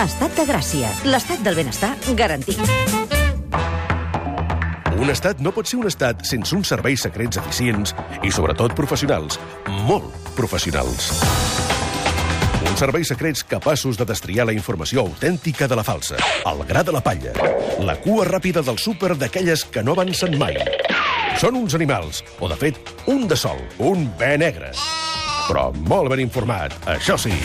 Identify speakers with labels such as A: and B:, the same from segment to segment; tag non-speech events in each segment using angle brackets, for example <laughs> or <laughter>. A: Estat de Gràcia. L'estat del benestar garantit.
B: Un estat no pot ser un estat sense uns serveis secrets eficients i, sobretot, professionals. Molt professionals. Uns serveis secrets capaços de destriar la informació autèntica de la falsa, el gra de la palla, la cua ràpida del súper d'aquelles que no avancen mai. Són uns animals, o de fet, un de sol, un bé negre. Però molt ben informat, això sí.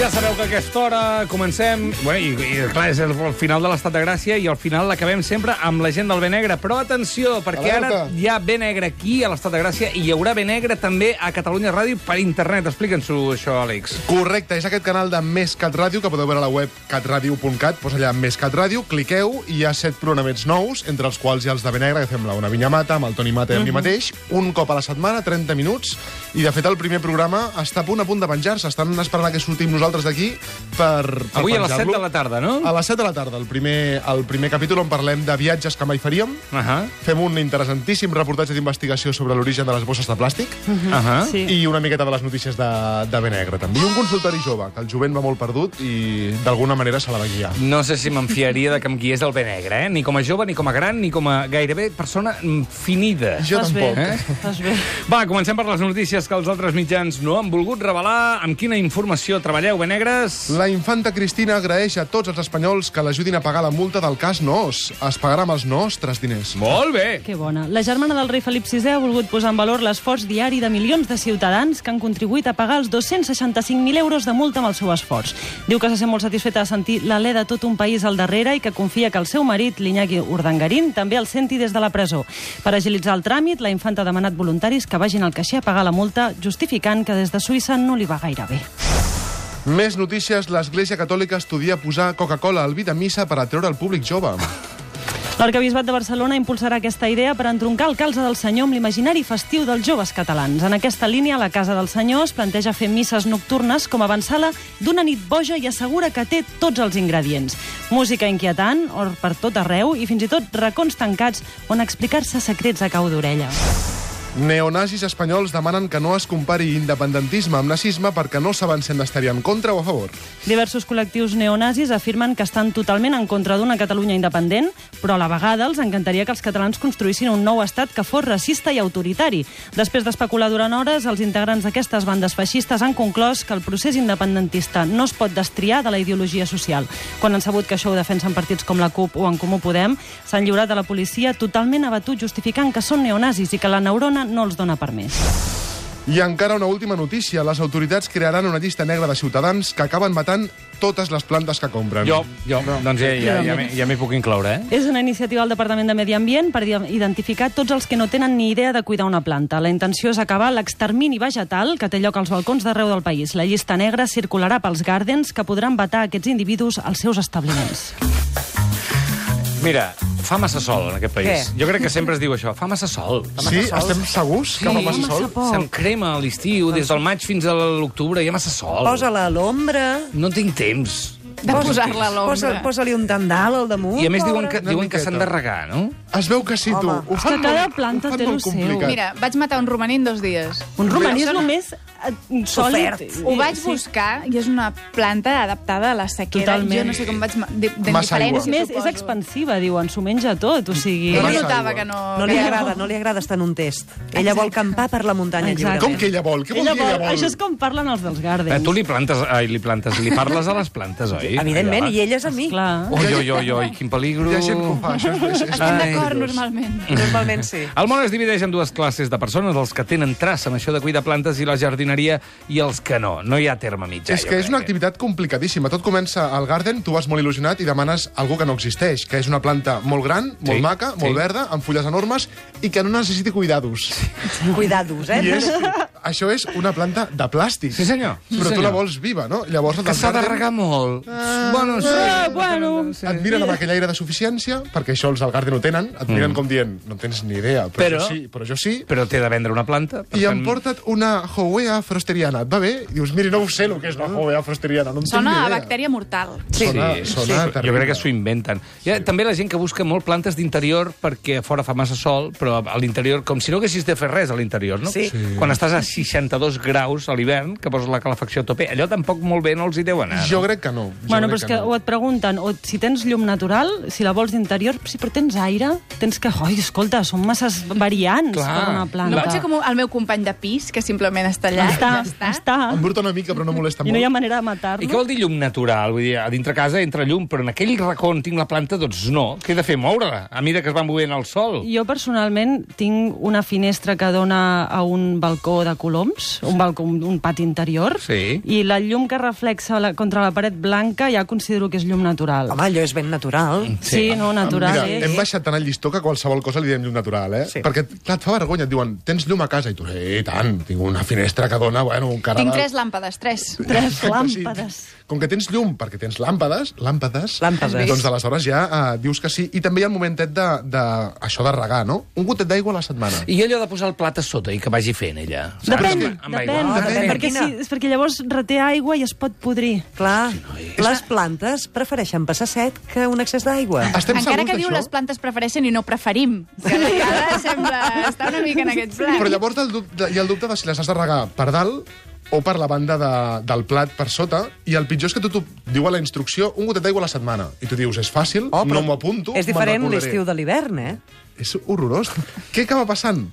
C: Ja sabeu que a aquesta hora comencem... Bé, i, i clar, és el, el final de l'estat de gràcia i al final l'acabem sempre amb la gent del Bé Negre. Però atenció, perquè ara
D: Alerta.
C: hi ha Bé Negre aquí a l'estat de gràcia i hi haurà Bé Negre també a Catalunya Ràdio per internet. Explica'ns-ho, això, Àlex.
D: Correcte, és aquest canal de Més Cat Ràdio que podeu veure a la web catradio.cat. Posa allà Més Cat Ràdio, cliqueu i hi ha set programets nous, entre els quals hi ha els de Benegra, que fem la Una Vinya Mata, amb el Toni Mata i
C: Mhm.
D: amb mi mateix, un cop a la setmana, 30 minuts, i de fet el primer programa està a punt a punt de penjar-se. Estan esperant a que sortim nosaltres d'aquí per, per
C: Avui a les 7
D: penjar-lo.
C: de la tarda, no?
D: A les 7 de la tarda, el primer, el primer capítol on parlem de viatges que mai faríem.
C: Ahà,
D: Fem un interessantíssim reportatge d'investigació sobre l'origen de les bosses de plàstic.
C: Mhm. ahà.
E: Sí.
D: I una miqueta de les notícies de, de Benegre, també. I un consultori jove, que el jovent va molt perdut i d'alguna manera se la va guiar.
C: No sé si m'enfiaria de que em guiés el Bé Negre, eh? Ni com a jove, ni com a gran, ni com a gairebé persona mm, finida.
D: Jo
E: Fas
D: tampoc.
E: Bé,
C: Eh?
E: fas bé.
C: Va, comencem per les notícies que els altres mitjans no han volgut revelar. Amb quina informació treballeu, Benegres?
D: La infanta Cristina agraeix a tots els espanyols que l'ajudin a pagar la multa del cas Nos. Es pagarà amb els nostres diners.
C: Molt bé!
E: Que bona. La germana del rei Felip VI ha volgut posar en valor l'esforç diari de milions de ciutadans que han contribuït a pagar els 265.000 euros de multa amb el seu esforç. Diu que se sent molt satisfeta de sentir l'alè de tot un país al darrere i que confia que el seu marit, l'Iñaki Urdangarín, també el senti des de la presó. Per agilitzar el tràmit, la infanta ha demanat voluntaris que vagin al caixer a pagar la multa, justificant que des de Suïssa no li va gaire bé.
D: Més notícies, l'Església Catòlica estudia posar Coca-Cola al vi de missa per atreure el públic jove.
E: L'arcabisbat de Barcelona impulsarà aquesta idea per entroncar el calze del senyor amb l'imaginari festiu dels joves catalans. En aquesta línia, la Casa del Senyor es planteja fer misses nocturnes com a avançala d'una nit boja i assegura que té tots els ingredients. Música inquietant, or per tot arreu, i fins i tot racons tancats on explicar-se secrets a cau d'orella.
D: Neonazis espanyols demanen que no es compari independentisme amb nazisme perquè no saben si han d'estar-hi en contra o a favor.
E: Diversos col·lectius neonazis afirmen que estan totalment en contra d'una Catalunya independent, però a la vegada els encantaria que els catalans construïssin un nou estat que fos racista i autoritari. Després d'especular durant hores, els integrants d'aquestes bandes feixistes han conclòs que el procés independentista no es pot destriar de la ideologia social. Quan han sabut que això ho defensen partits com la CUP o en Comú Podem, s'han lliurat de la policia totalment abatut justificant que són neonazis i que la neurona no els dona permís.
D: I encara una última notícia. Les autoritats crearan una llista negra de ciutadans que acaben matant totes les plantes que compren.
C: Jo, jo, no. doncs ja, ja, ja, m'hi- ja m'hi puc incloure, eh?
E: És una iniciativa del Departament de Medi Ambient per dia- identificar tots els que no tenen ni idea de cuidar una planta. La intenció és acabar l'extermini vegetal que té lloc als balcons d'arreu del país. La llista negra circularà pels gardens que podran vetar aquests individus als seus establiments.
C: Mira, fa massa sol en aquest país.
F: Què?
C: Jo crec que sempre es diu això, fa massa sol. Fa massa
D: Sí?
C: sol.
D: Estem segurs que fa massa sol?
E: poc.
C: Se'm crema a l'estiu, des del maig fins a l'octubre, hi ha massa sol.
F: Posa-la a l'ombra.
C: No tinc temps.
F: De
G: posar-la a l'ombra.
F: Posa-li posa un tandal al damunt.
C: I a més diuen
F: pobra.
C: que,
D: Una
C: diuen que
D: miqueta.
C: s'han de regar, no?
D: Es veu que sí, tu.
F: Home.
D: Ho fan
E: que cada
D: molt-
E: planta
D: ho fan
E: té lo
D: molt
E: seu.
D: complicat.
G: Mira, vaig matar un romaní en dos dies.
E: Un romaní és el més eh, sòlid.
F: Sofert.
G: Ho vaig
E: Sí.
G: buscar i és una planta adaptada a la sequera.
E: Totalment.
G: Jo no sé com vaig... ma- De, de
D: Massa aigua.
E: És més, és expansiva, diuen, s'ho menja tot, o sigui... eh,
G: Ell
D: Massa
G: notava
D: aigua.
G: que no...
F: No li
G: que-
F: agrada, no li agrada estar en un test. Ella vol campar per la muntanya
E: Exacte.
F: lliure.
D: Com que ella vol? Què vol
E: Ella
D: dir ella
E: vol-
D: vol?
E: Això és com parlen els dels
C: Eh,
E: Gardens.
C: tu li plantes, ai, li plantes, li parles a les plantes, oi?
F: Evidentment,
C: Allà.
F: i elles a mi.
E: Clar.
C: Oi, oi, oi, oi, quin peligro.
D: Hi ha gent que ho fa, això és, és, és,
G: <laughs> Estem
C: Ai,
G: d'acord,
D: perillós.
G: normalment.
F: Normalment sí.
C: El món es divideix en dues classes de persones, els que tenen traça en això de cuidar plantes i la jardineria i els que no. No hi ha terme mitjà.
D: és
C: jo
D: que
C: crec
D: és
C: eh?
D: una activitat complicadíssima. Tot comença al Garden, tu vas molt il·lusionat i demanes algú que no existeix, que és una planta molt gran, molt
C: Sí,
D: maca,
C: sí.
D: molt verda, amb fulles enormes i que no necessiti cuidados.
F: Cuidados, eh?
D: I és això és una planta de plàstic.
C: Sí, senyor. Sí,
D: Però tu
C: senyor.
D: la vols viva, no? Llavors,
C: Que s'ha de regar molt. bueno, sí.
E: Ah, bueno.
C: Sí. Mm.
D: Et miren amb aquell aire de suficiència, perquè això els del Garden ho tenen, et miren com dient, no tens ni idea, però,
C: Però-
D: jo sí, però jo sí.
C: Però té de vendre una planta. per
D: I em
C: tant-
D: porta't una Howea frosteriana, et va bé? I dius, miri, no ho sé el que és la Howea frosteriana, no en tinc ni
G: Sona a
D: idea.
G: bactèria mortal.
D: Sí, sona,
C: Sí,
D: sona
C: Jo
D: terrible.
C: crec que s'ho inventen. Hi ha també la gent que busca molt plantes d'interior perquè a fora fa massa sol, però a l'interior, com si no haguessis de fer res a l'interior, no?
F: Sí. Sí.
C: Quan estàs a 62 graus a l'hivern, que poses la calefacció a tope, allò tampoc molt bé no els hi deu anar.
D: Jo
C: no?
D: crec que no. Jo
E: Bueno, però
D: crec
E: és que o et pregunten, o si tens llum natural, si la vols d'interior, sí, però tens aire, tens que... Ai, escolta, són masses variants
C: Clar.
E: per una
G: No
E: planta.
C: Va.
G: pot ser com el meu company de pis, que simplement està allà
E: està,
G: i ja està.
E: està.
D: Em brota una mica, però no molesta
E: I no hi ha
D: molt.
E: manera
C: I
E: de
C: què
E: matar-lo.
C: vol dir llum natural? Vull dir, a dintre casa entra llum, però en aquell racó on tinc la planta, doncs no. Què he de fer? Moure-la, a mesura que es va movent el sol.
E: Jo personalment tinc una finestra que dona a un balcó de coloms, un balcó, un, un pati interior,
C: Sí.
E: i la llum que reflexa la, contra la paret blanca ja considero que és llum natural.
F: Home, allò és ben natural.
E: Sí, no, natural.
D: Ah,
E: eh?
D: Mira,
E: és.
D: hem baixat tant el llistó que qualsevol cosa li diem llum natural, eh?
F: Sí.
D: Perquè, clar, et fa vergonya, et diuen, tens llum a casa? I tu, sí, i tant, tinc una finestra que dona, bueno, un cara...
G: Tinc tres làmpades, tres.
D: <laughs>
E: Tres
D: Exacte,
E: làmpades.
D: Sí. Com que tens llum perquè tens làmpades, làmpades,
F: Làmpades.
D: doncs aleshores ja uh, dius que sí. I també hi ha el momentet de, de, això de regar, no? Un gotet d'aigua a la setmana.
C: I allò de posar el plat a sota i que vagi fent ella. saps?
E: Depèn,
C: Amb- amb aigua. Ah,
E: depèn,
F: Depèn.
E: perquè, si, és perquè llavors reté aigua i es pot podrir.
F: Clar, les plantes prefereixen passar set que un excés d'aigua.
D: Estem
G: Encara
D: segurs
G: que diu
D: d'això?
G: les plantes prefereixen i no preferim. Que a vegades sembla
D: <laughs>
G: estar una mica en aquest pla.
D: Però llavors el dubte, hi ha el dubte de si les has de regar per dalt o per la banda de, del plat per sota, i el pitjor és que tu, tu diu a la instrucció un gotet d'aigua a la setmana. I tu dius, és fàcil, oh,
F: però
D: no m'ho apunto,
F: És
D: me'n
F: diferent
D: recordaré.
F: l'estiu de l'hivern, eh?
D: És horrorós. Què acaba passant?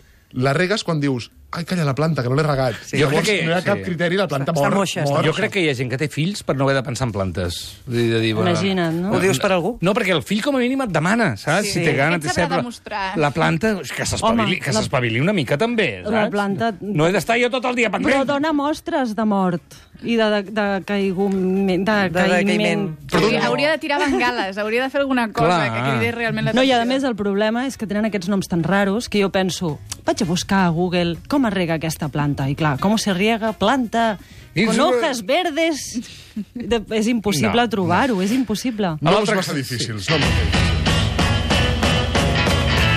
D: La regues quan dius, ai, calla, la planta, que no l'he regat. Sí.
C: Jo crec
D: Llavors
C: que-
D: no hi ha cap
C: sí.
D: criteri, la planta
F: Està
D: mor.
F: moixa, està
D: mor.
C: Jo crec que hi ha gent que té fills per no haver de pensar en plantes. Vull dir, de dir, bueno,
E: Imagina't, no?
F: Ho dius per algú?
C: No, perquè el fill com a mínim et demana, saps?
G: Sí.
C: Si té gana,
G: Aquest
C: té
G: sabrà
C: set, però
G: demostrar.
C: La planta, és que s'espavili
E: Home,
C: que
E: la-
C: s'espavili una mica també, saps?
E: La planta-
C: No he d'estar jo tot el dia
E: Però
C: pendent.
E: dona mostres de mort i de, de, de, caigument, de,
F: De decaïment.
E: caïment.
G: Sí, hauria de tirar bengales, hauria de fer alguna cosa
C: Clar.
G: que cridés realment
E: No, i
G: l'atenció.
E: a més el problema és que tenen aquests noms tan raros que jo penso, vaig a buscar a Google com es rega aquesta planta. I clar, com se riega planta
C: I
E: con
C: sobre-
E: hojas verdes... De, és impossible
C: No,
E: trobar-ho, és impossible.
D: No
C: A
D: és
C: l'altre
D: massa
C: que-
D: difícil, no mateix.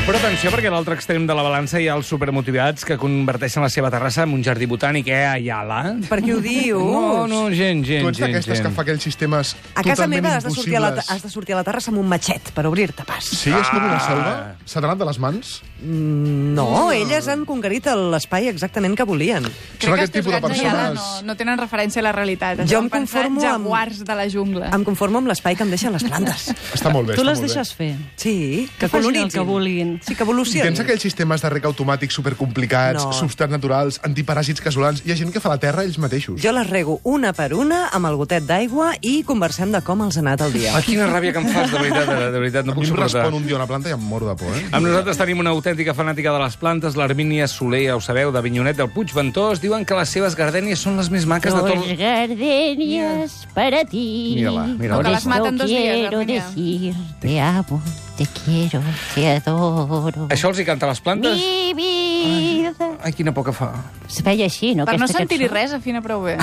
C: Però atenció, perquè a l'altre extrem de la balança hi ha els supermotivats que converteixen la seva terrassa en un jardí botànic, eh, a Iala.
F: Per què ho dius?
C: <laughs> No, no, gent, gent,
D: Tu ets
C: gent,
D: d'aquestes que
C: gent.
D: fa aquells sistemes
F: A casa
D: totalment
F: meva has de, sortir a la,
D: impossibles.
F: has de sortir a la terrassa amb un matxet per obrir-te pas.
D: Sí, és com una
C: Ah.
D: selva? S'ha anat de les mans?
F: No, elles han conquerit el- l'espai exactament que volien.
G: Crec
D: Són
G: que
D: aquest
G: els
D: tipus de
G: teus gats
D: persones...
G: Ayala No, no tenen referència a la realitat.
F: Jo em
G: Em pensar
F: conformo amb-
G: jaguars de la jungla.
F: Em conformo amb l'espai que em deixen les plantes.
D: Està molt bé,
E: Tu
D: està
E: les
D: molt bé.
E: deixes fer.
F: Sí,
E: Que facin el que vulguin.
F: Sí, que evolucionin.
D: Tens aquells sistemes de rec automàtic supercomplicats,
F: No.
D: no. substrats naturals, antiparàsits casolans... Hi ha gent que fa la terra ells mateixos.
F: Jo les rego una per una amb el gotet d'aigua i conversem de com els ha anat el dia.
C: Ah, quina ràbia que em fas, de veritat, de, de veritat, no
D: A mi
C: puc
D: em
C: suportar.
D: respon un dia una planta i em moro de por, eh?
C: Amb nosaltres tenim una autèntica fanàtica de les plantes, l'Armínia Soler, ja ho sabeu, de Vinyonet del Puig Ventós. Diuen que les seves gardènies són les més maques de
H: Dos
C: tot...
H: gardenias para ti.
C: Mírala, mírala.
G: No, que las
H: Esto
G: matan dos días,
H: quiero
G: Gardenia.
H: decir, te amo, te quiero, te adoro.
C: Això els hi canta a les plantes?
H: Mi vida.
C: Ai, quina por que fa.
H: Es feia així, no?
G: Per no
H: Aquesta
G: sentir-hi
H: cançó.
G: res, afina prou bé.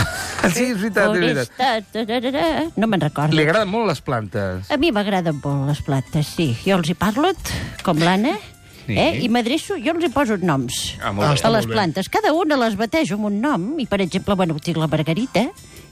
C: Sí, és veritat, és veritat.
H: Honesta, tararà. No me'n
C: Li
H: recordo.
C: agraden molt les plantes.
H: A mi m'agraden molt les plantes, sí. Jo els hi parlo, t- com l'Anna,
C: Sí.
H: eh? i m'adreço, jo els hi poso noms.
C: Ah,
D: Ah,
C: molt
D: està
H: a les
D: molt bé.
H: plantes. Cada una les batejo amb un nom, i per exemple, bueno, tinc la Margarita,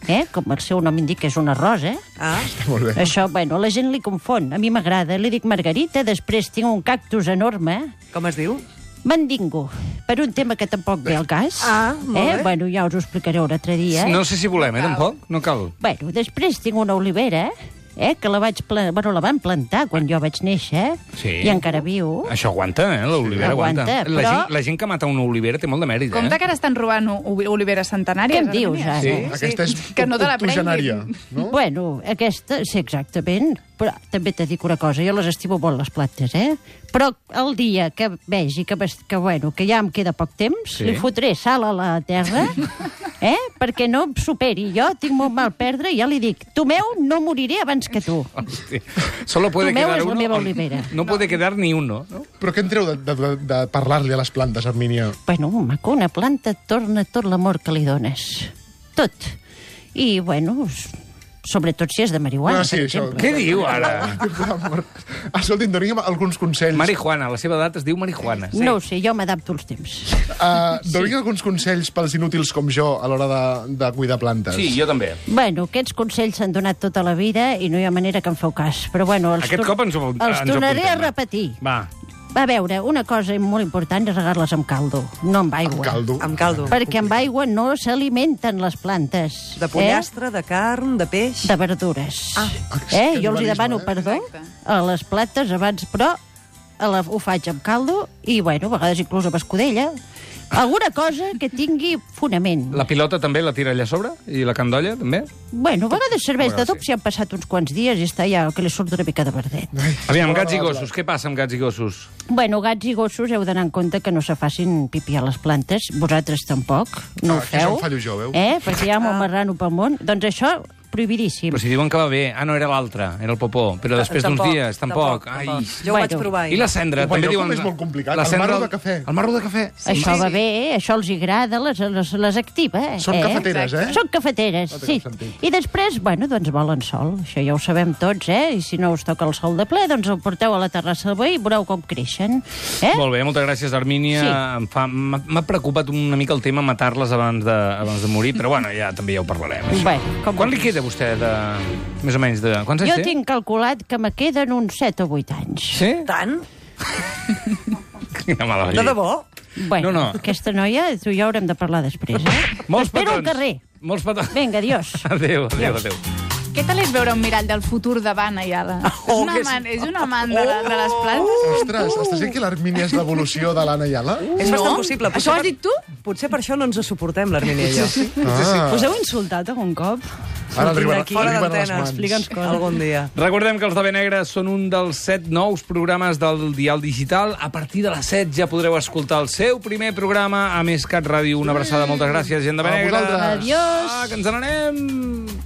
H: eh? com el seu nom indica, és una rosa.
F: Ah,
D: Molt
E: Eh,
D: bé.
H: Això, bueno, la gent li confon. A mi m'agrada. Li dic Margarita, després tinc un cactus enorme.
F: com es diu?
H: Mandingo, per un tema que tampoc ve al cas.
F: Ah, molt
H: eh?
F: bé.
H: Bueno, ja us ho explicaré un altre dia.
C: bé. No sé si volem, eh, tampoc? No cal.
H: Bueno, després tinc una olivera, eh? que la, vaig pla... bueno, la van plantar quan jo vaig néixer, eh?
C: Sí.
H: i encara viu.
C: Això aguanta, eh? L'olivera aguanta.
H: Aguanta,
C: La,
H: però-
C: gent, la gent que mata una olivera té molt de mèrit,
G: Compte
C: eh?
G: que ara estan robant o- oliveres centenàries.
H: Què em dius,
G: Gardenia.
H: ara?
C: Sí.
D: Aquesta és
G: Que no te la
D: octogenària,
G: prenguin.
D: no?
H: Bueno, aquesta, sí, exactament.
E: Però també te dic una cosa, jo les estimo molt, les plantes, eh? Però el dia que vegi que, m'es- que, bueno, que ja em queda poc temps,
C: Sí.
E: sí. li fotré sal a la
D: <laughs>
E: terra, eh? Perquè no em superi. Jo tinc molt mal perdre i ja li dic, tu meu, no moriré abans que tu.
C: Hòstia. Solo puede
E: Tomeu
C: quedar
E: és la
C: uno.
E: meva
C: o-
E: olivera.
C: No puede quedar ni uno. No?
D: Però què en treu de, de, de- de parlar-li a les plantes, Armínia?
E: Bueno, maco, una planta et torna tot l'amor que li dones. Tot. I, bueno, s- sobretot si és de marihuana,
D: Ah, sí,
E: per
D: això.
E: exemple.
C: Què diu
D: <laughs>
C: ara?
D: Escolti'm, doni'm alguns consells.
C: Marihuana, la seva edat es diu marihuana.
E: No ho sé, jo m'adapto als temps.
D: Uh, doni'm alguns consells pels inútils com jo a l'hora de, de cuidar plantes.
B: Sí, jo també.
E: Bueno, aquests consells s'han donat tota la vida i no hi ha manera que em feu cas. Però bueno, els,
C: Aquest
E: tor-
C: cop ens ho- ens ho
E: els
C: eh?
E: tornaré a
C: apuntem, va.
E: repetir.
C: Va,
E: A veure, una cosa molt important és regar-les amb caldo, no amb aigua.
D: Caldo.
F: Amb caldo.
E: Perquè amb aigua no s'alimenten les plantes. eh?
F: De pollastre, de carn, de peix...
E: de verdures. Ah,
D: que
E: eh? Jo els hi
D: animalisme,
E: demano
D: eh?
E: perdó
G: Exacte.
E: a les plates abans, però a la, ho faig amb caldo i, bueno, a vegades inclús amb escudella. Alguna cosa que tingui fonament.
C: la pilota també la tira allà a sobre? I la candolla també?
E: Bueno, a vegades serveix
C: Bueno,
E: de dop
C: sí.
E: si han passat uns quants dies i està ja que li surt una mica de verdet.
C: Aviam, gats i gossos, què passa amb gats i gossos?
E: Bueno, gats i gossos heu d'anar en compte que no se facin pipí a les plantes. Vosaltres tampoc,
D: Ah, que
E: no ho
D: això
E: feu.
D: em fallo jo, veu? Ah.
E: Eh? Perquè hi ha molt marrano pel món. Doncs això, prohibidíssim.
C: Però si diuen que va bé. Ah, no, era l'altre, era el popó. Però després d'uns
F: Tampoc,
C: dies, tampoc. Ai.
F: Jo ho vaig
E: Bueno.
F: provar. ahir.
C: I la cendra,
D: Però
C: també
D: allò
C: diuen...
D: com és molt complicat,
C: la
D: el
C: cendra-
D: marro de cafè.
C: El marro de cafè.
E: Sí, això va bé, eh? això els hi agrada, les, les, les activa.
D: Són
E: eh?
D: cafeteres, eh?
E: Són cafeteres,
D: No té
E: sí.
D: cap sentit.
E: I després, bueno, doncs volen sol, això ja ho sabem tots, eh? I si no us toca el sol de ple, doncs el porteu a la terrassa del veí i veureu com creixen. Eh?
C: Molt bé, moltes gràcies, Armínia.
E: Sí.
C: Em fa- M'ha m'ha preocupat una mica el tema matar-les abans, de, abans de morir, però bueno, ja també ja ho parlarem. això.
E: Bé, com
C: Quan li
E: vulguis.
C: queda a vostè de... Més o menys de... Quants anys
E: Jo
C: té?
E: tinc calculat que me queden uns 7 o 8 anys. <laughs>
C: Sí?
F: Tant?
C: Quina mala
F: De
C: llet.
F: debò?
E: Bueno,
C: No, no.
E: aquesta noia, tu i jo haurem de parlar després, eh?
C: Molts
E: T'espero al
C: petons.
E: carrer.
C: Molts petons.
E: Vinga, adiós.
C: <laughs> Adéu, adéu, adéu.
G: Què tal és veure un mirall del futur davant, Ayala?
F: Oh,
G: és, una
F: que és-
G: amant, és una amant de, la, de les plantes?
D: Ostres, estàs dient que l'Armínia és l'evolució de l'Anna Iala?
F: És bastant possible.
G: Això ho has
F: per-
G: dit tu?
F: Potser per això no ens suportem, l'Armínia i jo. Sí, sí.
D: Ah,
I: Us heu insultat algun cop?
D: ara arriben,
F: Aquí, fora
D: arriben a les
F: d'antena,
D: mans.
F: explica'ns coses. Algun dia.
C: Recordem que els de Benegra són un dels set nous programes del Dial Digital. A partir de les 7 ja podreu escoltar el seu primer programa a Més Cat Ràdio. Una abraçada, moltes gràcies, gent de
D: A
C: Benegra.
D: vosaltres.
C: Adiós. Ah, que ens n'anem.